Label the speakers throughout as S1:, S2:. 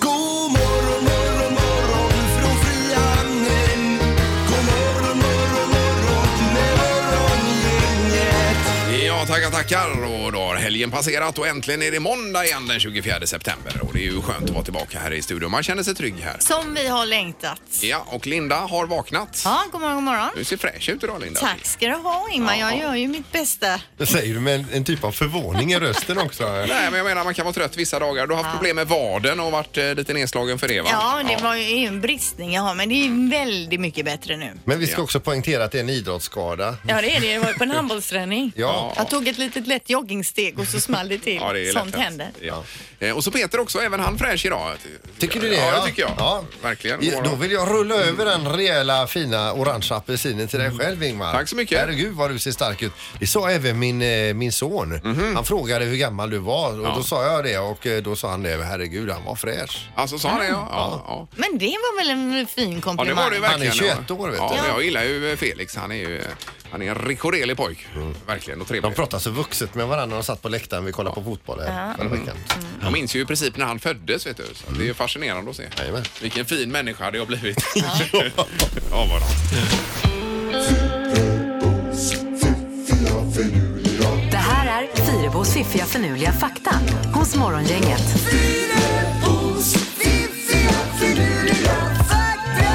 S1: God morgon, morgon, morgon från Frihamnen. God morgon, morgon, morgon med morgongänget.
S2: Ja, tackar, tackar. Och då har helgen passerat och äntligen är det måndag igen den 24 september. Och det är ju skönt att vara tillbaka här i studion. Man känner sig trygg här.
S3: Som vi har längtat.
S2: Ja, och Linda har vaknat.
S3: Ja, god morgon, god morgon.
S2: Du ser fräsch ut idag Linda.
S3: Tack ska du ha Ingmar, jag gör ju mitt bästa.
S4: Det säger du med en, en typ av förvåning i rösten också.
S2: Nej, men jag menar man kan vara trött vissa dagar. Du har haft problem med vaden och varit eh, lite nedslagen för det va?
S3: Ja, det var ju en bristning jag har, men det är ju väldigt mycket bättre nu.
S4: Men vi ska också poängtera att det är en idrottsskada.
S5: Ja det är det, det var ju på en handbollsträning.
S4: Ja.
S3: Jag tog ett litet lätt joggingsteg och så small det till.
S2: Ja, det är lätt
S3: Sånt
S2: hänt.
S3: händer.
S2: Ja. Eh, Och så Peter också, även han fräsch idag.
S4: Tycker du det?
S2: Ja, det tycker jag. Verkligen.
S4: I- Då vill jag rulla över den rejäla fina orangea apelsinen till dig själv Ingmar.
S2: Mm. Tack så mycket.
S4: Herregud vad du ser stark ut. Det sa även min, eh, min son.
S2: Mhm.
S4: Han frågade hur gammal du var och då sa jag det och eh, då sa han det. Herregud han var fräsch.
S2: Alltså sa han det? Ja. Ja, ja.
S3: Men det var väl en fin
S2: ja
S3: komplimang?
S2: det var det ju verkligen.
S4: Han är 21 år, vet
S2: ja,
S4: du.
S2: men Jag gillar ju Felix. Han är ju han är en rekorderlig pojk. Verkligen och trevlig.
S4: Mm. De pratade så vuxet med varandra när de satt på läktaren. Vi kollade på fotboll här
S2: Mm.
S4: förra veckan.
S2: Jag minns ju i princip när han föddes, vet du. Så Det är ju fascinerande att se.
S4: Mm. Jajamän.
S2: Vilken fin människa det har blivit. Ja, vad då.
S6: Det här är Fyrabos fiffiga förnuliga fakta hos Morgongänget.
S1: Fyrabos fiffiga finurliga fakta.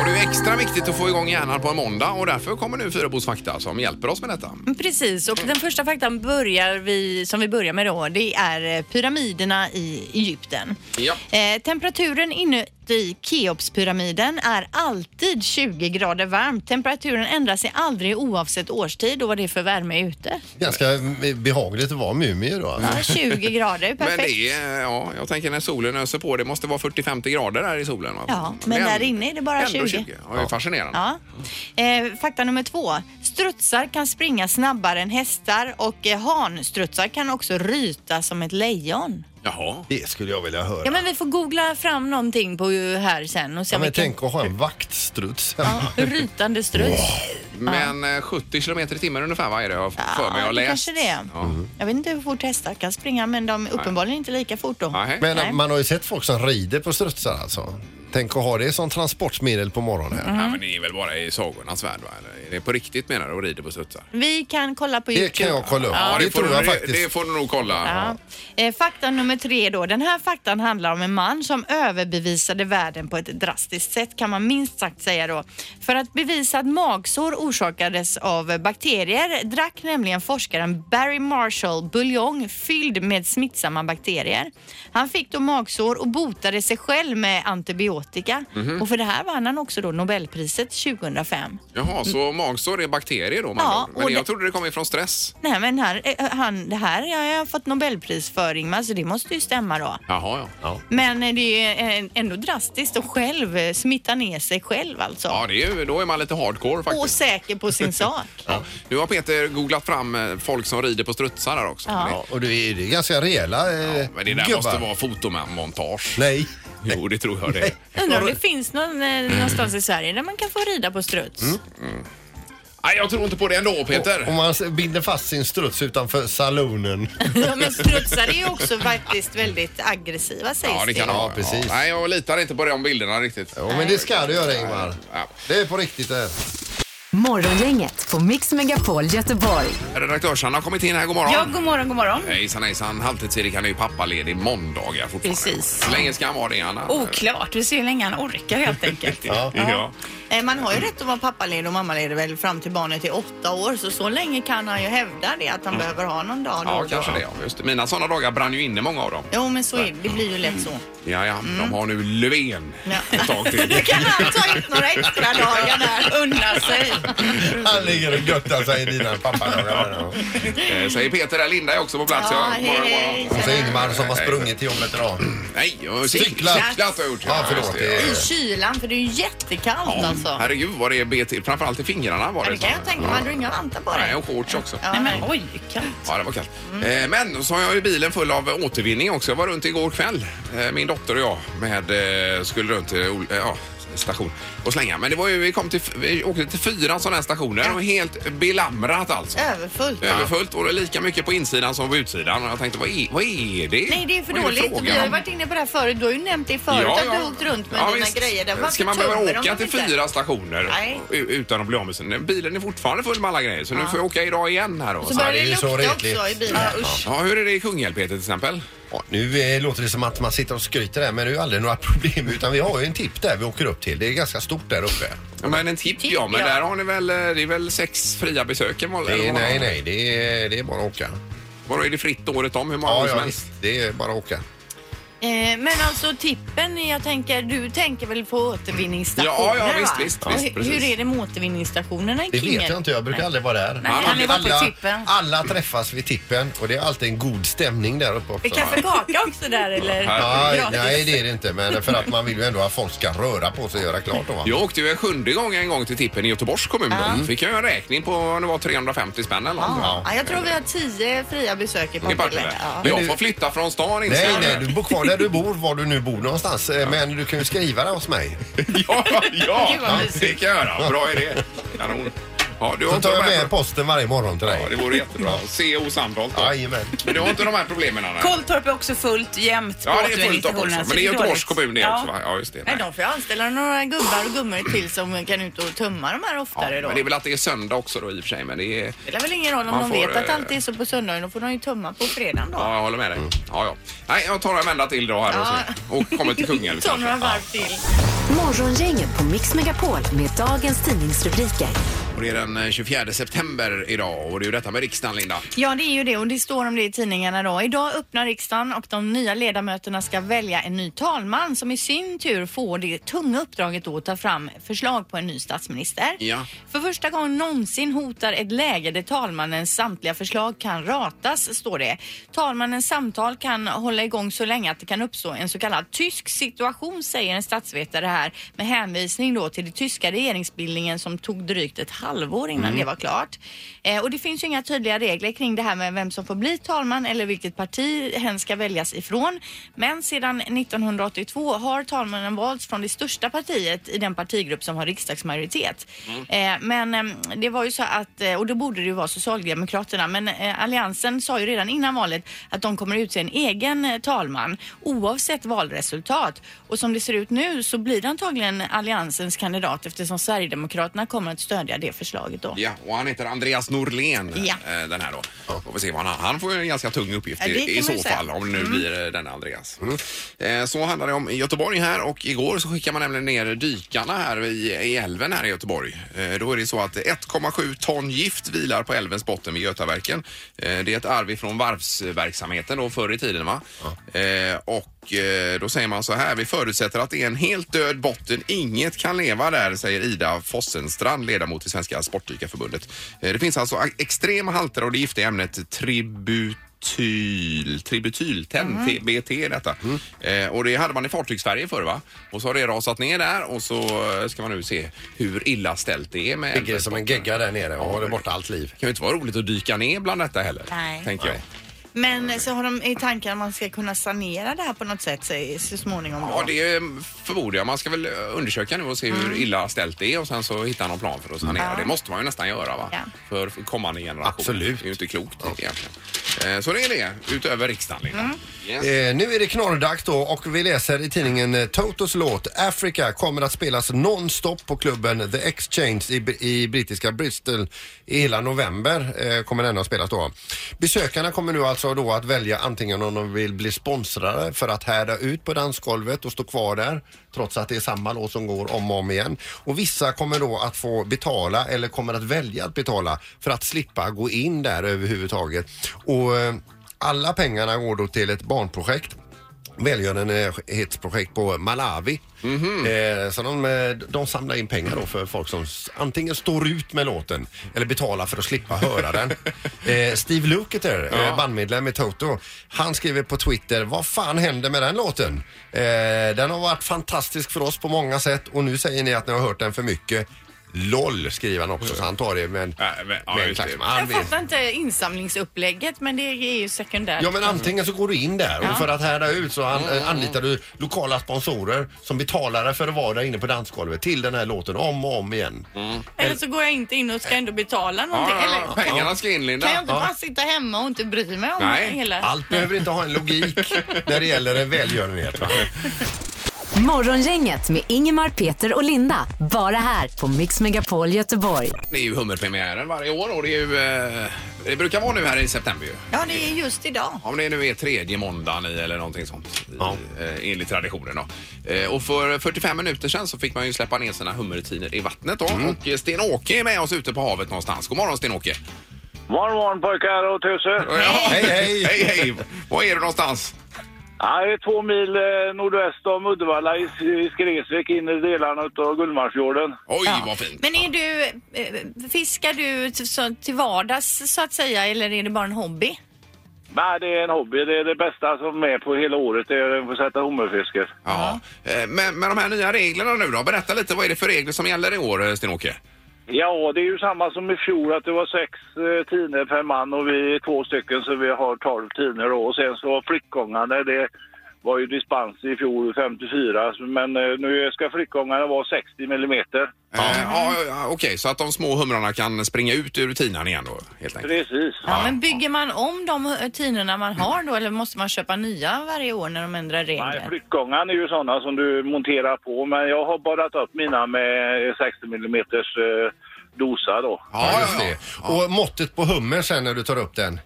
S2: Och det är ju extra viktigt att få igång hjärnan på en måndag och därför kommer nu Fyrabos fakta som hjälper oss med detta.
S4: Mm.
S5: Precis, och den första faktan börjar vi, som vi börjar med då, det är eh, pyramiderna i Egypten.
S2: Ja.
S5: Eh, temperaturen inuti Keopspyramiden är alltid 20 grader varm. Temperaturen ändrar sig aldrig oavsett årstid och vad det är för värme ute.
S4: Ganska eh, behagligt att vara mumie då. alltså.
S2: Mm.
S5: Ja, 20 grader,
S2: Men
S5: perfekt.
S2: det är, ja, jag tänker när solen öser på, det måste vara 40-50 grader där i solen. va?
S5: Ja, men där inne är det bara
S2: ändå
S5: 20.
S2: Ja, det är fascinerande.
S5: Ja. Eh, fakta nummer två. Strutsar kan springa snabbare än hästar och eh, hanstrutsar kan också ryta som ett lejon.
S2: Jaha.
S4: Det skulle jag vilja höra.
S5: Ja, men vi får googla fram någonting på ju här sen och se
S4: Ja,
S5: om
S4: men
S5: vi kan...
S4: tänk att ha en vaktstruts hemma.
S5: Ja, rytande struts.
S2: Men eh, 70 kilometer i timmen ungefär, vad är det? Jag har för mig, jag har
S5: det
S2: läst.
S5: kanske det är.
S2: Ja.
S5: Jag vet inte hur fort hästar kan springa men de är uppenbarligen inte lika fort då.
S2: Nej.
S4: Men
S5: Nej.
S4: man har ju sett folk som rider på strutsar alltså. Tänk att ha det som transportmedel på morgonen.
S2: Ja, men det är väl bara i sagornas värld, va? Eller är det på riktigt menar du och rider på studsar?
S5: Vi kan kolla på
S4: Det
S5: Youtube.
S4: kan jag kolla upp.
S2: Ja,
S4: det,
S2: det, får
S4: tror
S2: du,
S4: jag
S2: det,
S4: faktiskt.
S2: det får du nog kolla.
S5: Ja. Eh, Fakta nummer tre då. Den här faktan handlar om en man som överbevisade världen på ett drastiskt sätt kan man minst sagt säga då. För att bevisa att magsår orsakades av bakterier drack nämligen forskaren Barry Marshall buljong fylld med smittsamma bakterier. Han fick då magsår och botade sig själv med antibiotika.
S4: Mhm.
S5: Och för det här vann han också då Nobelpriset 2005.
S2: Jaha, så magsår är bakterier då?
S5: Mm. Ja,
S2: Ja, men
S5: och
S2: jag
S5: det-
S2: trodde det kom ifrån stress.
S5: Nej men här, eh, han, det här har jag fått Nobelpris för Ingmar så det måste ju stämma då.
S2: Jaha, ja. ja.
S5: Men eh, det är eh, ändå drastiskt att själv eh, smitta ner sig själv alltså.
S2: Ja, det är ju, då är man lite hardcore
S5: och
S2: faktiskt.
S5: säker på sin sak.
S2: Ja. Nu har Peter googlat fram eh, folk som rider på strutsar här också. Men,
S4: Ja, och det är, det är ganska rejäla eh,
S2: det, ja, men det där
S4: gubbar.
S2: måste vara fotomontage.
S4: Nej.
S2: Jo, det tror jag det. är.
S5: Undrar om det finns någon, eh, någonstans i Sverige där man kan få rida på struts.
S2: Mm. Nej, jag tror inte på det ändå
S4: Om
S2: Peter.
S4: man s- binder fast sin struts utanför salonen.
S5: Ja, men strutsar är ju också faktiskt väldigt aggressiva sägs
S2: Ja, det kan det
S4: Ja,
S2: vara.
S4: precis.
S2: Nej, jag litar inte på de bilderna riktigt.
S4: Jo, men det ska du göra Ingmar.
S2: Ja.
S4: Det är på riktigt det här.
S6: Morgongänget på Mix Megapol Göteborg.
S2: Redaktörsarna har kommit in här, god morgon.
S7: Ja, god morgon, god morgon.
S2: Hejsan hejsan, halvtids-Erik han är ju pappaledig måndagar fortfarande.
S7: Precis.
S2: Hur länge ska han vara det Anna?
S7: Oklart, vi ser hur länge han orkar helt enkelt.
S2: Ja. ja.
S5: Eh, Man har ju rätt att vara pappaledig och mammaledig väl fram till barnet är åtta år så så länge kan han ju hävda det att han behöver ha någon dag då och
S2: Mm. Ja,
S5: då.
S2: kanske det. Ja. Just det. Mina sådana dagar brann ju inne många av dem.
S5: Jo men så är det, det blir ju lätt så.
S2: Ja, ja, de har nu Löfven ett tag till.
S5: Kan han ta ut några extra dagar där?
S7: Unna sig.
S4: Han ligger och göttar sig i dina pappadagar.
S2: Eh, Säger Peter där, Linda är också på plats.
S4: Ja,
S2: Ja,
S4: hej,
S2: morgon,
S4: hej.
S2: morgon.
S4: Och så Alltså, Ingmar som har sprungit till jobbet idag.
S2: Nej, jag har
S4: Cyklat.
S2: cyklat. Cyklat har jag gjort.
S4: Ja, förlåt.
S2: just det, ja.
S5: I kylan, för det är ju jättekallt alltså.
S2: Herregud vad det bet till. Framförallt i fingrarna var
S5: Ja,
S2: det.
S5: det kan jag tänka mig. Hade du inga vantar på
S2: Nej,
S5: dig?
S2: och shorts också.
S5: Ja, men oj.
S2: Ja, det var kallt. Eh, Men så har jag ju bilen full av återvinning också. Jag var runt igår kväll, eh, min dotter och jag, med, eh, skulle runt till ol- eh, ja, station och slänga. Men det var ju, vi, kom till, f- vi åkte till fyra sådana här stationer och helt belamrat alltså.
S5: Överfullt.
S2: Överfullt och det är lika mycket på insidan som på utsidan. Och jag tänkte, vad är, vad är det?
S5: Nej, det är för
S2: Vad det
S5: dåligt. Vi
S2: frågan
S5: har ju
S2: om?
S5: varit inne på det här förut. Du har ju nämnt det förut,
S2: Ja,
S5: att du
S2: ja.
S5: har åkt runt med
S2: Ja,
S5: dina
S2: visst.
S5: grejer. Där. Varför
S2: Ska man behöva
S5: tömmer de
S2: åka
S5: dem
S2: till
S5: inte?
S2: fyra stationer
S5: Nej.
S2: u- utan att bli av med sig? Bilen är fortfarande full med alla grejer så nu får jag åka idag igen här då.
S5: Så börjar
S4: det är
S5: det
S4: ju så
S5: lukta
S4: retligt.
S5: också i bilar. Usch.
S2: Ja, hur är det i Kungälv Peter till exempel?
S4: Ja, nu eh, låter det som att man sitter och skryter där men det är ju aldrig några problem utan vi har ju en tipp där vi åker upp till. Det är ganska stort där uppe.
S2: Ja, men en tipp,
S5: Tipp,
S2: ja, men
S5: ja.
S2: där har ni väl, eh, det är väl sex fria besök? i mål-
S4: Det
S2: eller
S4: är,
S2: vad?
S4: nej, nej, det är, det är bara att åka.
S2: Bara är det fritt året om hur många
S4: Ja,
S2: år som
S4: ja,
S2: helst?
S4: visst. Det är bara att åka.
S5: Eh, Men alltså tippen, jag tänker, du tänker väl på
S2: Ja,
S5: återvinningsstationer?
S2: ja, visst,
S5: va?
S2: visst,
S5: Och
S2: visst,
S5: hur,
S2: precis.
S5: hur är det med återvinningsstationerna i
S4: Det vet
S5: Kungälv?
S4: jag inte, jag brukar aldrig vara där.
S7: Nej, han är bara på
S4: alla,
S7: tippen.
S4: alla träffas vid tippen och det är alltid en god stämning där uppe också.
S5: Är kaffe och kaka också där eller?
S4: Nej,
S5: Gratis.
S4: nej, det är det inte. Men för att man vill ju ändå att folk ska röra på sig och göra klart. Då, va?
S2: Jag åkte ju en sjunde gång en gång till tippen i Göteborgs kommun. Då fick jag ju en räkning på om det var 350 spänn eller något.
S5: Ja, jag tror vi har tio fria besök i
S2: I Partille.
S5: Partille. Ja.
S2: Men jag får flytta från stan inte
S4: Nej,
S2: jag.
S4: nej, du bor kvar där du bor, var du nu bor någonstans. Eh, Men du kan ju skriva där hos mig.
S2: Ja, ja,
S5: Gud, vad
S2: det kan jag göra. Bra idé. Kanon. Ja, du har
S4: Så
S2: inte
S4: tar jag
S2: de här
S4: med
S2: pro-
S4: posten varje morgon till
S2: Ja, det
S4: dig.
S2: vore jättebra. CO Sandholt då.
S4: Jajamän.
S2: Men du har inte de här problemen Anna?
S7: Kolltorp är också fullt jämt på
S2: Ja, det är fullt upp också.
S7: återvinningsstationerna, så
S2: Men det är Göteborgs
S7: dåligt.
S2: kommun det
S7: Ja.
S2: också va? Ja, just det.
S5: Nej,
S2: Nej.
S5: de får ju anställa några gubbar och gummor till som kan ut och tömma de här
S2: Ja,
S5: oftare då.
S2: men det är väl att det är söndag också då i och för sig. Men det är...
S5: Det spelar väl ingen roll om
S2: Man
S5: de
S2: får,
S5: vet att
S2: eh,
S5: allt är så på söndagen. Då får de ju tumma på fredagen då.
S2: Ja, jag håller med dig. Ja, ja. Nej, jag tar en vända till då här och, så- och kommer till Kungälv
S5: Ta några
S2: kanske.
S5: varv till.
S6: Morgongänget på Mix Megapol med dagens tidningsrubriker.
S2: Och det är den eh, 24 september idag och det är ju detta med riksdagen Linda.
S5: Ja, det är ju det och det står om det i tidningarna då. Idag öppnar riksdagen och de nya ledamöterna ska välja en ny talman som i sin tur får det tunga uppdraget då att ta fram förslag på en ny statsminister.
S2: Ja.
S5: För första gången någonsin hotar ett läge där talmannens samtliga förslag kan ratas, står det. Talmannens samtal kan hålla igång så länge att det kan uppstå en så kallad tysk situation, säger en statsvetare här med hänvisning då till den tyska regeringsbildningen som tog drygt ett halvår innan det var klart. Eh, och det finns ju inga tydliga regler kring det här med vem som får bli talman eller vilket parti hen ska väljas ifrån. Men sedan 1982 har talmannen valts från det största partiet i den partigrupp som har riksdagsmajoritet.
S2: Mm.
S5: Eh, men eh, det var ju så att, eh, och då borde det ju vara Socialdemokraterna, men eh, Alliansen sa ju redan innan valet att de kommer utse en egen eh, talman oavsett valresultat. Och som det ser ut nu så blir det antagligen Alliansens kandidat eftersom Sverigedemokraterna kommer att stödja det förslaget då.
S2: Ja, och han heter Andreas Norlén,
S5: Ja.
S2: eh, den här då. Får vi se vad han, han får ju en ganska tung uppgift
S5: Ja, det
S2: i,
S5: kan
S2: i
S5: man
S2: så
S5: ju säga. Mm.
S2: fall, om det nu blir eh, den Andreas. Eh, Så handlar det om Göteborg här och igår så skickar man nämligen ner dykarna här i, i älven här i Göteborg. Eh, Då är det så att 1,7 ton gift vilar på älvens botten vid Götaverken. Eh, Det är ett arv ifrån varvsverksamheten då förr i tiden va? Eh, Och eh, då säger man så här, vi förutsätter att det är en helt död botten, inget kan leva där, säger Ida Fossenstrand, ledamot i Svenska Sportdykarförbundet. Eh, Det finns alltså a- extrema halter av det giftiga ämnet tribut Tyl, tributyl, TBT är detta. Eh, och det hade man i fartygsfärger förr va? Och så har det rasat ner där och så eh, ska man nu se hur illa ställt det är med
S4: Ligger det
S2: älvens
S4: som en
S2: botten.
S4: gegga där nere och håller borta allt liv.
S2: Det kan ju inte vara roligt att dyka ner bland detta heller.
S5: Nej.
S2: Tänker jag.
S5: Men eh, så har de i tanken att man ska kunna sanera det här på något sätt så, så småningom då.
S2: Ja, det eh, förmodar jag. Man ska väl eh, undersöka nu och se
S5: Mm.
S2: hur illa ställt det är och sen så hitta någon plan för att sanera. Det måste man ju nästan göra va?
S5: Ja.
S2: För kommande generationer.
S4: Absolut.
S2: Det är ju inte klokt egentligen. Eh, så det är det, utöver riksdagen. Linda.
S5: Mm.
S2: Yes.
S4: Eh, nu är det knorrdags då och vi läser i tidningen eh, Totos låt Africa kommer att spelas nonstop på klubben The Exchange i, br- i brittiska Bristol i hela november. Eh, kommer den att spelas då. Besökarna kommer nu alltså då att välja antingen om de vill bli sponsrade för att härda ut på dansgolvet och stå kvar där trots att det är samma låt som går om och om igen. Och vissa kommer då att få betala eller kommer att välja att betala för att slippa gå in där överhuvudtaget. Och eh, alla pengarna går då till ett barnprojekt välgörenhetsprojekt på Malawi.
S2: Mhm.
S4: Eh, så de, eh, de samlar in pengar då för folk som s- antingen står ut med låten eller betalar för att slippa höra den. Eh, Steve Lukather, eh, bandmedlem i Toto, han skriver på Twitter, vad fan händer med den låten? Eh, den har varit fantastisk för oss på många sätt och nu säger ni att ni har hört den för mycket. LOL skriver han också, så han tar det med en,
S2: Ja, men- ja,
S4: med en
S2: just det.
S4: klackspark. Han
S5: Jag
S4: vet-
S5: fattar inte insamlingsupplägget men det är ju sekundärt.
S4: Ja men antingen så går du in där
S5: Ja.
S4: och för att härda ut så an,
S2: Mm.
S4: anlitar du lokala sponsorer som betalare för att vara där inne på dansgolvet till den här låten om och om igen.
S2: Mm.
S5: Eller så går jag inte in och ska ändå betala
S2: Ja,
S5: någonting.
S2: ja,
S5: Eller
S2: ja, pengarna ska in, Linda.
S5: kan jag inte bara sitta hemma och inte bry mig om
S2: Nej.
S5: hela...
S4: Allt behöver inte ha en logik när det gäller en välgörenhet. Va?
S6: Morgongänget med Ingemar, Peter och Linda. Bara här på Mix Megapol Göteborg.
S2: Det är ju hummerpremiären varje år och det, är ju, eh, det brukar vara nu här i september ju.
S5: Ja, det är just idag.
S2: Om det nu är tredje måndagen i eller någonting sånt i,
S4: Ja.
S2: eh, enligt traditionen då. Eh, och för 45 minuter sedan så fick man ju släppa ner sina hummertiner i vattnet då. Och eh, Sten-Åke är med oss ute på havet någonstans. God morgon Sten-Åke!
S8: Morgon, morgon pojkar och tusen.
S2: Hej
S4: hej.
S2: hej hej! Var är du någonstans?
S8: Ja, det är två mil eh, nordväst om Uddevalla i, i Skresvik, inre delarna av Gullmarsfjorden.
S2: Oj
S5: Ja.
S2: vad fint!
S5: Men är du, eh, fiskar du t- så, till vardags så att säga eller är det bara en hobby?
S8: Nej, det är en hobby. Det är det bästa som är på hela året, det är att få sätta hummerfisket.
S2: Ja. Eh, Men, men de här nya reglerna nu då? Berätta lite, vad är det för regler som gäller i år eh, Sten-Åke?
S8: Ja, det är ju samma som i fjol att det var sex eh, tiner per man och vi är två stycken så vi har tolv tiner då. Och sen så flickgångarna, det var ju dispens i fjol 54 men eh, nu ska flickgångarna vara 60 millimeter.
S2: Ja. Ja, ja, Okej, så att de små humrarna kan springa ut ur tinan igen då helt enkelt?
S8: Precis.
S5: Ja, men bygger man om de eh, tinorna man har då eller måste man köpa nya varje år när de ändrar
S8: Nej,
S5: regler?
S8: flyttgångarna är ju sådana som du monterar på men jag har borrat upp mina med 60 millimeters eh, dosa då.
S2: Ja,
S4: just det. Och måttet på hummer sen när du tar upp den.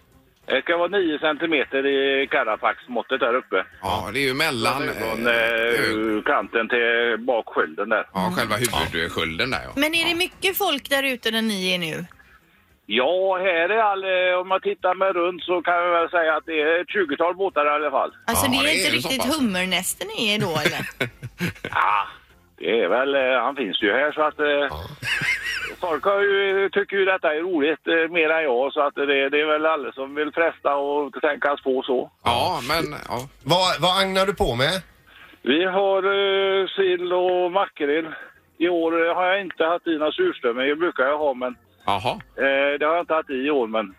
S8: Det ska vara 9 centimeter i karafaxmåttet där uppe.
S2: Ja, det är ju mellan...
S8: Från
S2: eh,
S8: eh, kanten till bakskölden där.
S2: Ja, själva huvudskölden där ja.
S5: Men är det mycket folk där ute där ni är nu?
S8: Ja, här är all, eh, om man tittar mig runt så kan jag väl säga att det är ett 20-tal båtar i alla fall.
S5: Alltså
S2: Ja,
S5: det
S2: det
S5: är
S2: är
S5: inte
S2: ju så
S5: riktigt
S2: pass.
S5: hummernästen ni är då eller?
S8: Ja, det är väl, eh, han finns ju här så att... Eh, Folk har ju, tycker ju detta är roligt, eh, mer än jag, så att det, det är väl alla som vill fresta och tänkas på så.
S2: Ja, men... Ja.
S4: Vad, vad agnar du på med?
S8: Vi har eh, sill och makrill. I år eh, har jag inte haft i några surströmming, det brukar jag ha, men
S2: Jaha,
S8: eh, det har jag inte haft i i år. Men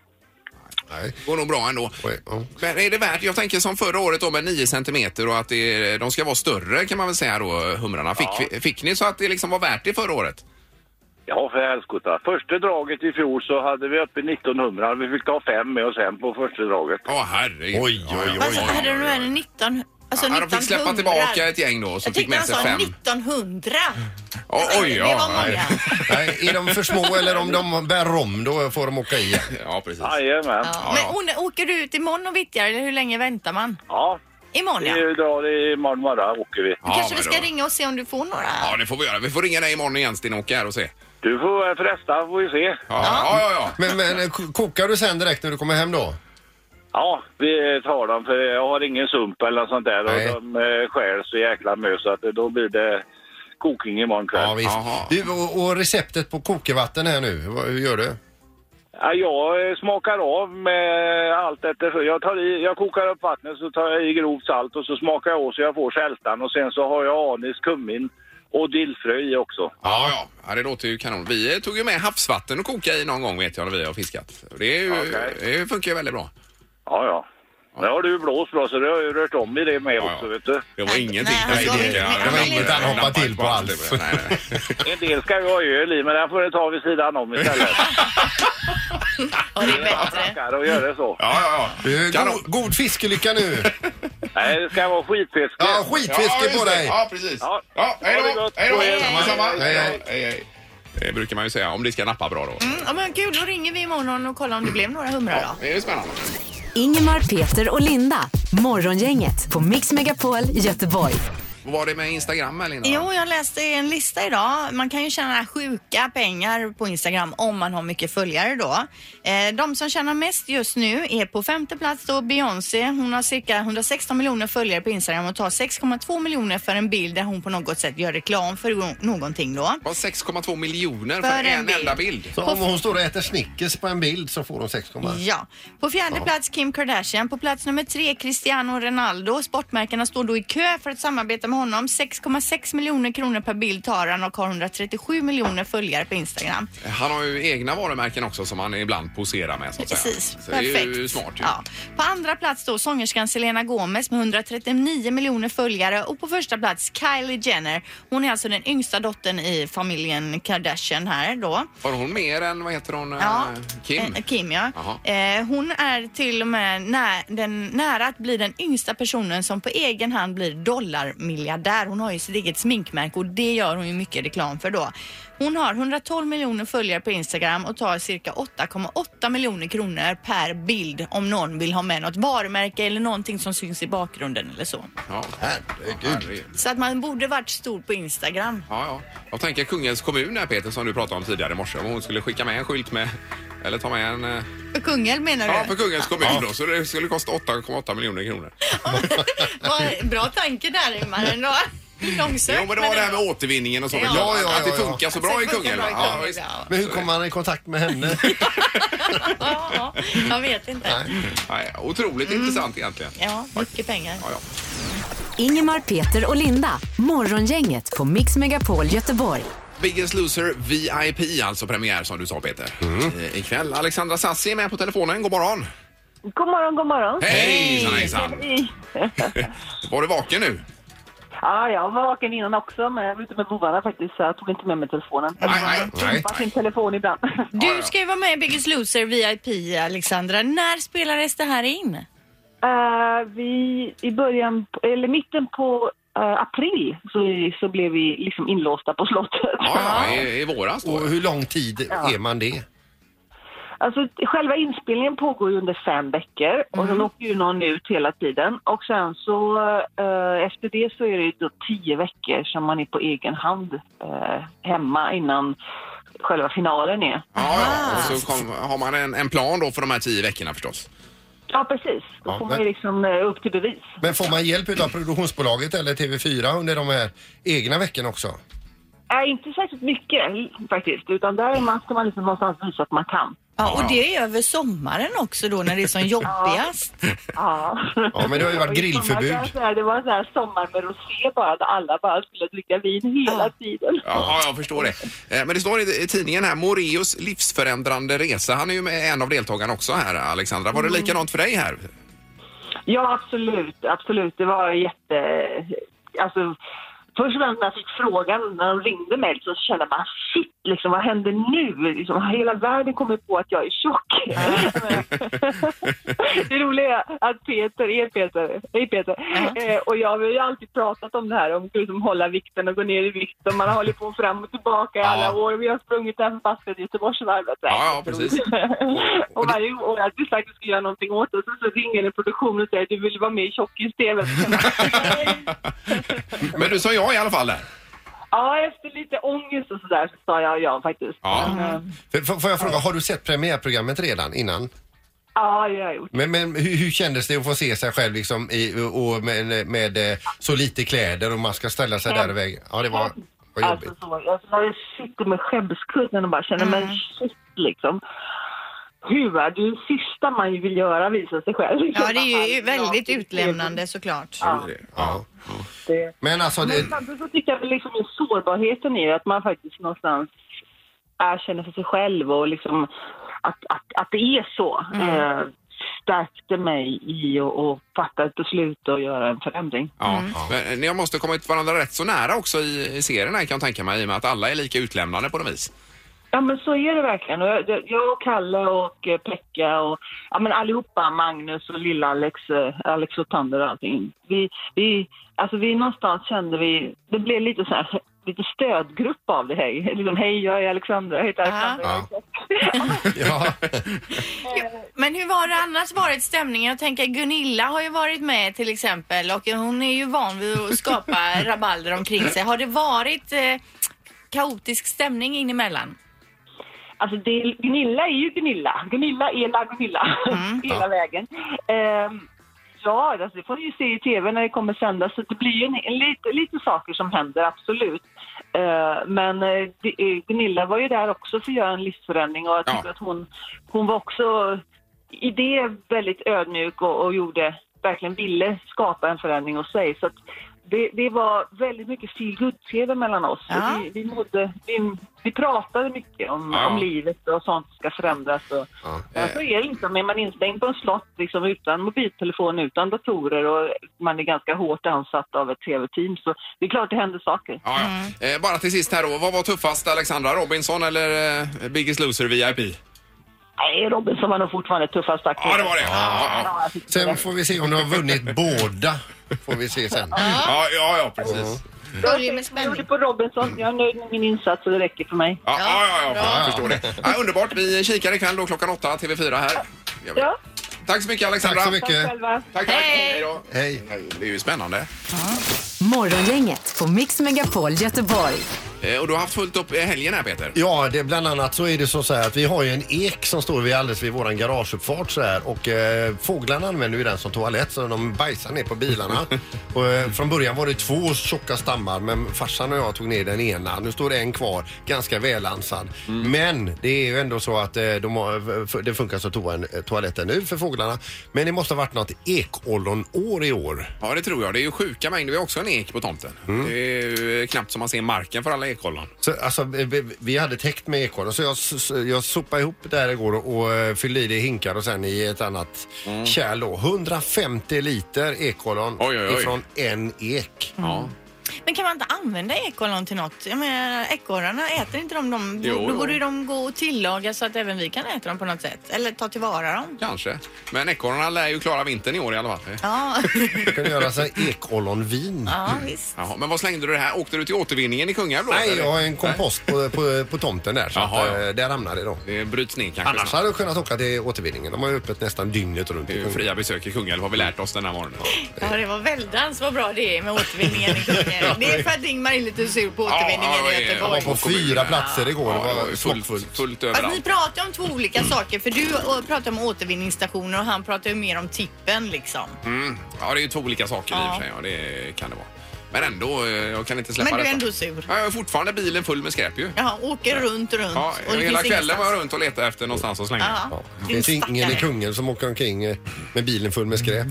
S4: Nej.
S2: går nog bra ändå.
S4: Oj, ja.
S2: Men är det värt, jag tänker som förra året då med 9 centimeter och att det, de ska vara större kan man väl säga då, humrarna. Fick, vi- fick ni så att det liksom var värt det förra året?
S8: Ja, för helskotta. Första draget i fjol så hade vi uppe 1900. Vi fick ta fem med oss hem på första draget.
S2: Ja, herregud.
S4: Oj, oj, oj,
S5: Alltså hade de ändå 19... Alltså
S2: Ja, de
S5: 1900?
S2: fick släppa tillbaka ett gäng då som
S5: Jag
S2: fick
S5: tyckte
S2: med
S5: han
S2: sig
S5: sa
S2: fem.
S5: 1900.
S2: Ja, oj,
S5: Det
S2: ja.
S5: var många.
S4: Nej, är de för små eller om de bär om då får de åka i.
S2: Ja, precis.
S8: Jajamän. Ja.
S5: Ja. Men hon- åker du ut imorgon och vittjar eller hur länge väntar man?
S8: ja,
S5: Imorgon
S8: det
S5: ja.
S8: är ju dag i morgon morgon åker vi.
S2: Ja,
S5: Kanske vi
S2: men
S5: ska
S2: då-
S5: ringa och se om du får några.
S2: Ja, det får vi göra. Vi får ringa dig imorgon igen Sten-Åke här och se.
S8: Du får eh, fresta, får vi se.
S2: Ja, ja, ja. ja.
S4: Men, men eh, ko- kokar du sen direkt när du kommer hem då?
S8: Ja, vi tar dem för jag har ingen sump eller något sånt där.
S4: Nej.
S8: Och de eh, skär så jäkla mycket så att eh, då blir det kokning imorgon kväll.
S4: Ja,
S8: Ja,
S4: visst.
S2: Jaha.
S4: Du, och, och receptet på kokevatten här nu, vad- hur gör du?
S8: jag eh, smakar av med allt eftersom. Jag, tar i, jag kokar upp vattnet så tar jag i grovt salt och så smakar jag åt så jag får sältan och sen så har jag anis, kummin och dillfrö i också.
S2: Ja, ja. ja, det låter ju kanon. Vi eh, tog ju med havsvatten och kokade i någon gång vet jag när vi har fiskat. Och Det, är ju,
S8: Okej.
S2: det funkar ju väldigt bra.
S8: Ja, ja. Nu har du blåst bra så du har ju rört om i det med
S2: ja.
S8: också, vet du.
S2: Det var ingenting.
S5: nej, alltså,
S2: det-
S5: vi-
S2: ja,
S5: vi-
S2: det
S5: vi-
S2: var
S5: vi-
S2: inget han
S4: vi-
S2: hoppade
S4: vi-
S2: till på alls.
S4: vi-
S2: Nej, nej, nej.
S8: En del ska ju ha öl i, men den får du ta vid sidan om istället.
S5: Ja, det är
S8: Jag
S5: bättre.
S8: snackar och gör det så.
S2: Ja, ja,
S4: Eh,
S2: ja. Kanon.
S4: God, god fiskelycka nu!
S8: Nej, det ska vara skitfiske.
S4: Ja,
S2: Ja,
S4: skitfiske
S2: just
S4: på
S2: det.
S4: dig!
S2: Ja, precis.
S8: Ja.
S2: Ja, hej
S8: Ha det
S2: då!
S8: gott.
S2: Hej då!
S8: Hej,
S2: Detsamma.
S4: hej,
S2: Ja,
S4: hej.
S2: hej, hej. Det brukar man ju säga om det ska nappa bra då.
S5: Mm, Ja, men kul, då ringer vi imorgon och kollar om det blev några humrar då.
S2: Det är ju spännande.
S6: Ingemar, Peter och Linda. Morgongänget på Mix Megapol Göteborg.
S2: Vad var det med Instagram här Linda?
S5: Jo, jag läste en lista idag. Man kan ju tjäna sjuka pengar på Instagram om man har mycket följare då. Eh, de som tjänar mest just nu är på femte plats då Beyoncé. Hon har cirka 116 miljoner följare på Instagram och tar 6,2 miljoner för en bild där hon på något sätt gör reklam för no- någonting då.
S2: Det var 6,2 miljoner för,
S5: För
S2: en,
S5: en bild.
S2: enda bild.
S4: Så om hon står och äter Snickers på en bild så får hon 6,1.
S5: Ja. På fjärde plats Kim Kardashian. På plats nummer tre Cristiano Ronaldo. Sportmärkena står då i kö för att samarbeta med honom. 6,6 miljoner kronor per bild tar han och har 137 miljoner följare på Instagram.
S2: Han har ju egna varumärken också som han ibland poserar med. Så att
S5: Precis,
S2: säga. Så
S5: perfekt.
S2: Det är ju smart. Ju.
S5: Ja. På andra plats då sångerskan Selena Gomez med 139 miljoner följare och på första plats Kylie Jenner. Hon är alltså den yngsta dottern i familjen Kardashian här då.
S2: Har hon mer än, vad heter hon, eh, Kim?
S5: eh, Kim ja.
S2: Jaha.
S5: Eh, hon är till och med nä- den, nära att bli den yngsta personen som på egen hand blir dollarmiljardär. Hon har ju sitt eget sminkmärke och det gör hon ju mycket reklam för då. Hon har 112 miljoner följare på Instagram och tar cirka 8,8 miljoner kronor per bild om någon vill ha med något varumärke eller någonting som syns i bakgrunden eller så.
S2: Ja. Herregud.
S5: Så att man borde varit stor på Instagram.
S2: Ja, ja. Jag tänker Kungens kommun här Peter som du pratade om tidigare i morse. Om hon skulle skicka med en skylt med eller ta med en... eh,
S5: För Kungälv menar du?
S2: Ja, för Kungens kommun då. Så det skulle kosta 8,8 miljoner kronor.
S5: Vad- Bra tanke där Ingmar ändå. Långsökt.
S2: Jo, men det var det här med återvinningen och så.
S5: Ja.
S2: såklart.
S4: Ja, ja,
S2: att det
S4: ja, ja.
S2: funkar så Alltså, bra i
S5: Alltså,
S2: Kungälv. va? Ja, visst.
S4: Men hur kommer man i kontakt med henne?
S5: Ja, jag vet inte.
S2: Nej, otroligt intressant egentligen.
S5: Ja, mycket pengar.
S2: Ja, ja.
S6: Ingemar, Peter och Linda. Morgongänget på Mix Megapol Göteborg.
S2: Biggest Loser VIP, alltså premiär som du sa Peter. Mm. Ikväll. Alexandra Sassi är med på telefonen. God morgon!
S8: God morgon, god morgon.
S2: Hej! Hejsan, hejsan! Var du vaken nu?
S8: Ja, jag var vaken innan också, men jag var ute med bovarna faktiskt så jag tog inte med mig telefonen.
S2: Nej, nej, nej.
S8: Bara sin telefon ibland.
S5: Du ska ju vara med i Biggest Loser VIP, Alexandra. När spelades det här in?
S8: Eh, vi, I början, eller mitten på eh, april så, så blev vi liksom inlåsta på slottet.
S2: Ja, ja, i, i våras då.
S4: Och hur lång tid är man det?
S8: Alltså, själva inspelningen pågår ju under fem veckor och
S4: Mm.
S8: sen åker ju någon ut hela tiden. Och sen så eh, efter det så är det ju då tio veckor som man är på egen hand eh, hemma innan själva finalen är.
S2: Ja, ja. Och så kom, har man en, en plan då för de här tio veckorna förstås.
S8: Ja, precis. Då
S4: Ja,
S8: får man
S4: men-
S8: ju liksom eh, upp till bevis.
S4: Men får man hjälp av produktionsbolaget eller TV4 under de här egna veckorna också?
S8: Nej, Eh, inte särskilt mycket faktiskt, utan där är man, ska man liksom någonstans visa att man kan.
S5: Ja, och det är över sommaren också då när det är som jobbigast.
S8: Ja,
S4: Ja, men det har ju varit
S8: Och i sommar kan jag
S4: grillförbud.
S8: säga, Det var en sån här sommar med rosé bara, där alla bara skulle dricka vin hela tiden.
S2: Ja, ja, jag förstår det. Eh, Men det står i i tidningen här, Moreus livsförändrande resa. Han är ju med- en av deltagarna också här, Alexandra. Var det likadant för dig här?
S8: Ja, absolut. absolut. Det var jätte... Alltså, först när jag fick frågan, när de ringde mig, så kände man shit, liksom, vad händer nu? Liksom, hela världen kommer på att jag är tjock. det roliga är att Peter är Peter. Hej Peter. Eh, och jag har ju alltid pratat om det här, om att liksom, hålla vikten och gå ner i vikt. Och man har hållit på fram och tillbaka i alla
S2: Ja.
S8: år. Vi har sprungit den fast Göteborgsvarvet.
S2: Ja, ja, precis.
S8: Och varje år hade vi sagt att vi skulle göra någonting åt det. Och så, så ringer en produktion och säger att du vill vara med i Tjockis-TV. Så känner jag,
S2: Men du sa ja i alla fall där.
S8: Ja, efter lite ångest och sådär så sa jag ja faktiskt.
S2: Ja.
S8: Men, eh,
S4: F- f- Får jag fråga, har du sett premiärprogrammet redan innan?
S8: ja, det har jag gjort.
S4: Men, men hur, hur kändes det att få se sig själv liksom i, och med, med eh, så lite kläder och man ska ställa sig där i vägen? Ja, det var, var jobbigt.
S8: Alltså, så, alltså, när jag sitter med skämskudden och bara känner, men shit liksom. Hur? Det är det sista man ju vill göra, visa sig själv.
S5: Ja, det är ju väldigt utlämnande såklart.
S4: Ja.
S8: Det-
S4: Men alltså, det,
S8: Men samtidigt så tycker jag väl liksom att sårbarheten är ju att man faktiskt någonstans erkänner för sig själv och liksom att, att, att det är så. Eh, stärkte mig i att- att fatta ett beslut och göra en förändring.
S2: Ja. Men eh, ni måste ha kommit varandra rätt så nära också i, i serien här kan jag tänka mig i och med att alla är lika utlämnande på något vis.
S8: Ja men så är det verkligen. Och jag, jag- jag och Kalle och eh, Pekka och ja, men allihopa, Magnus och lilla Alex, eh, Alex och Tander och allting. Vi, vi, alltså vi någonstans kände vi, det blev lite så här
S9: lite stödgrupp av det här. Liksom, hej, jag är Alexandra, jag heter Alexandra.
S4: Ja. Ja.
S5: Men hur har det annars varit stämningen? Jag tänker Gunilla har ju varit med till exempel och hon är ju van vid att skapa rabalder omkring sig. Har det varit eh, kaotisk stämning in emellan?
S9: Alltså det, Gunilla är ju Gunilla. Gunilla är la Gunilla hela vägen. Ehm, ja, alltså det får ni ju se i tv när det kommer sändas. Så det blir ju en, en, lite, lite saker som händer, absolut. Ehm, men eh, det, är- Gunilla var ju där också för att göra en livsförändring och jag tycker att hon, hon var också i det väldigt ödmjuk och, och gjorde, verkligen ville skapa en förändring hos sig. Så att det, det var väldigt mycket feel tv mellan oss. Och
S5: Ja.
S9: Vi, vi, mådde, vi, vi pratade mycket om,
S2: Ja.
S9: om livet och sånt som ska förändras. Och, ja. Så är det liksom, är man instängd på en slott liksom, utan mobiltelefon, utan datorer och man är ganska hårt ansatt av ett tv-team så det är klart det händer saker.
S2: Ja, ja. Eh, bara till sist här då. Vad var tuffast, Alexandra Robinson eller eh, Biggest Loser VIP?
S9: Nej, Robinson var nog fortfarande tuffast faktiskt.
S2: Ja, det var det. Ja, ja,
S9: Ja, jag tyckte det.
S4: Sen får vi se om du har vunnit båda. Får vi se sen.
S2: ja, ja, ja precis.
S5: Börjar med
S9: Jag gjorde
S5: spänning.
S9: på Robinson. Jag är nöjd med min insats och det räcker för mig.
S2: Ja, ja, ja, ja, jag
S4: Bra.
S2: förstår det. Ja, underbart. Vi kikar ikväll då klockan åtta, TV4 här. Gör vi.
S9: Ja,
S2: Tack så mycket, Alexandra.
S4: Tack så mycket.
S9: själva.
S2: Tack, tack. Hej då.
S4: Hej.
S2: Det är ju spännande.
S6: Morgongänget på Mix Megapol Göteborg.
S2: Eh, Och du har haft fullt upp i helgen här, Peter.
S4: Ja, det, bland annat så är det så, så här att vi har ju en ek som står vid alldeles vid våran garageuppfart så här och eh, fåglarna använder ju den som toalett så de bajsar ner på bilarna. och, eh, från början var det två tjocka stammar men farsan och jag tog ner den ena. Nu står det en kvar, ganska välansad. Men det är ju ändå så att eh, de har, f- det funkar som toan, toaletten nu för fåglarna. Men det måste ha varit något ekollonår i år.
S2: Ja, det tror jag. Det är ju sjuka mängder. Vi har också en ek på tomten.
S4: Mm.
S2: Det är ju eh, knappt som man ser marken för alla ekollon.
S4: Så, alltså, vi- vi, vi hade täckt med ekorre så jag, s- s- jag sopade ihop det här igår och, och eh, fyllde i det i hinkar och sen i ett annat kärl då. 150 liter ekollon
S2: Mm. Oj, oj, oj.
S4: ifrån en ek.
S2: Ja.
S5: Men kan man inte använda ekollon till något? Jag menar ekorrarna, äter inte de dem?
S2: Jo,
S5: Då
S2: jo.
S5: borde ju de gå och tillaga så att även vi kan äta dem på något sätt. Eller ta tillvara dem.
S2: Kanske. Men ekorrarna lär ju klara vintern i år i alla fall. Eh,
S5: Ja,
S4: Man kunde göra sig ekollonvin.
S5: ja visst.
S2: Jaha, men vad slängde du det här? Åkte du till återvinningen i Kungälv då?
S4: Nej,
S2: eller?
S4: jag har en kompost på, på, på tomten där så
S2: Jaha,
S4: att,
S2: ja.
S4: eh, där hamnade det då.
S2: Det bryts ner kanske.
S4: Annars hade jag kunnat åka till återvinningen. De har ju öppet nästan dygnet runt.
S2: Det är ju fria besök i Kungälv har vi lärt oss den här morgonen.
S5: Ja, det var väldans vad bra det är med återvinningen i Kungälv. Det är för att Ingmar är lite sur på återvinningen
S2: Ja, ja,
S5: i
S2: ja,
S4: Jag var
S5: Göteborg.
S4: på fyra platser igår.
S2: Ja,
S4: det var
S2: ju
S4: fullt.
S2: fullt, fullt
S5: Fast ni
S2: överallt.
S5: pratar om två olika saker för du eh, pratar om återvinningsstationer och han pratar ju mer om tippen liksom.
S2: Mm. Ja, det är ju två olika saker i och
S5: Ja.
S2: för sig. Ja, det kan det vara. Men ändå, eh, jag kan inte släppa
S5: Men du är
S2: detta.
S5: ändå sur.
S2: Ja, jag har fortfarande bilen full med skräp ju.
S5: Jaha, åker runt, runt.
S2: Ja,
S5: och det
S2: hela
S5: finns
S2: kvällen var jag
S5: ingenstans.
S2: runt och letade efter någonstans att slänga.
S5: Ja.
S4: Det finns ingen i Kungälv som åker omkring eh, med bilen full med skräp.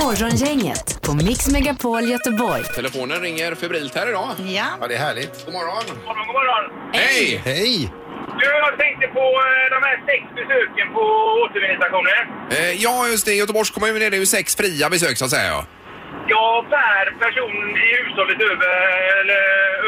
S6: Morgongänget på Mix Megapol Göteborg.
S2: Telefonen ringer febrilt här idag.
S5: Ja.
S4: Ja, det är härligt.
S2: God morgon!
S8: God morgon, god morgon.
S2: Hej!
S4: Hej!
S8: Du, jag tänkte på eh, de här sex besöken på återvinningsstationen.
S2: Eh, ja, just det. I Göteborgs kommun är det ju sex fria besök så att säga. ja.
S8: Ja, per person i hushållet över, eller,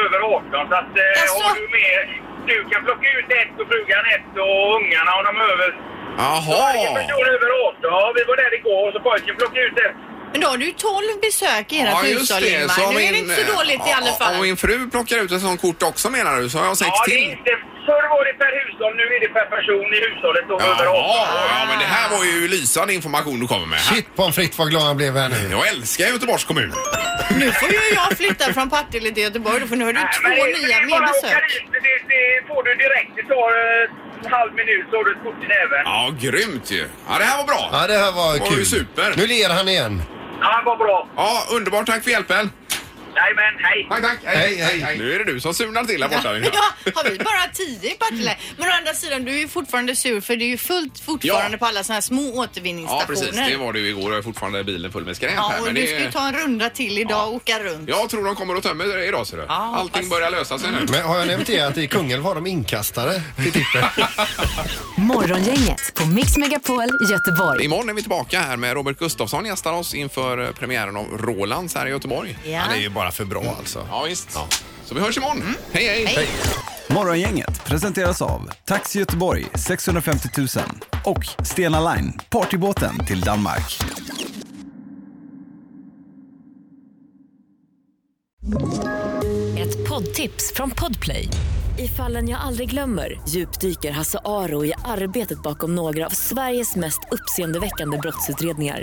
S8: över 18. Så att eh,
S5: Jaså?
S8: har du med... Du kan plocka ut ett och frugan ett och ungarna om de är över... Varje
S2: Jaha!
S8: person över 18. Ja, vi var där igår och så pojken plockade ut ett.
S5: Men då har du ju 12 besök i ert
S2: Ja, just
S5: hushåll
S2: det.
S5: Ingmar.
S2: om
S5: Nu är det
S2: min-
S5: inte så dåligt i alla
S2: ja,
S5: fall.
S2: Om min fru plockar ut ett sånt kort också menar du, så har jag sex
S8: Ja, det är
S2: till.
S8: inte... Förr var det per hushåll, nu är det per person i hushållet och över 18.
S2: Jaha, ja, men det här var ju lysande information du kommer med.
S4: Shit pommes frites vad glad jag blev här nu.
S2: Jag älskar Göteborgs kommun.
S5: Nu får ju jag flytta från Partille till Göteborg för nu har du
S8: Nej,
S5: två
S8: men det-
S5: nya
S8: det är bara
S5: mer
S8: att åka
S5: besök.
S8: dit. Det, det får du direkt. Det tar eh, en halv minut så har du ett kort i näven.
S2: Ja, grymt ju. Ja, det här var bra.
S4: Ja, det här var
S2: Det var
S4: kul.
S2: ju super.
S4: Nu ler han igen.
S8: Ja, vad bra.
S2: Ja, underbart. Tack för hjälpen.
S8: Nej, men hej.
S2: Tack, tack.
S4: Hej, hej, hej.
S2: Nu är det du som surnar till här borta. Linda.
S5: Ja, har vi bara tio i Partille? Men å andra sidan, du är ju fortfarande sur för det är ju fullt fortfarande
S2: Ja.
S5: på alla sådana här små
S2: Ja, precis.
S5: återvinningsstationer.
S2: Det var det ju igår. Jag är fortfarande bilen full med skräp
S5: Ja,
S2: här.
S5: och
S2: Men
S5: du ska ju
S2: det...
S5: ta en runda till idag och åka runt.
S2: Jag tror de kommer att tömma det idag, ser du. Allting
S5: hoppas. Mm.
S2: börjar lösa sig nu.
S4: Men har jag nämnt det att i Kungälv har de inkastare till tippen?
S6: Morgongänget på Mix Megapol Göteborg.
S2: Imorgon är vi tillbaka här med Robert Gustafsson gästar oss inför eh, premiären av Rolands här i Göteborg.
S5: Ja. Mm.
S4: Han är ju bara för bra alltså.
S2: Ja, visst. Så vi hörs imorgon. Hej, hej!
S5: Hej.
S10: Morgongänget presenteras av Taxi Göteborg 650 000 och Stena Line, partybåten till Danmark.
S6: Poddtips från Podplay. I fallen jag aldrig glömmer djupdyker Hasse Aro i arbetet bakom några av Sveriges mest uppseendeväckande brottsutredningar.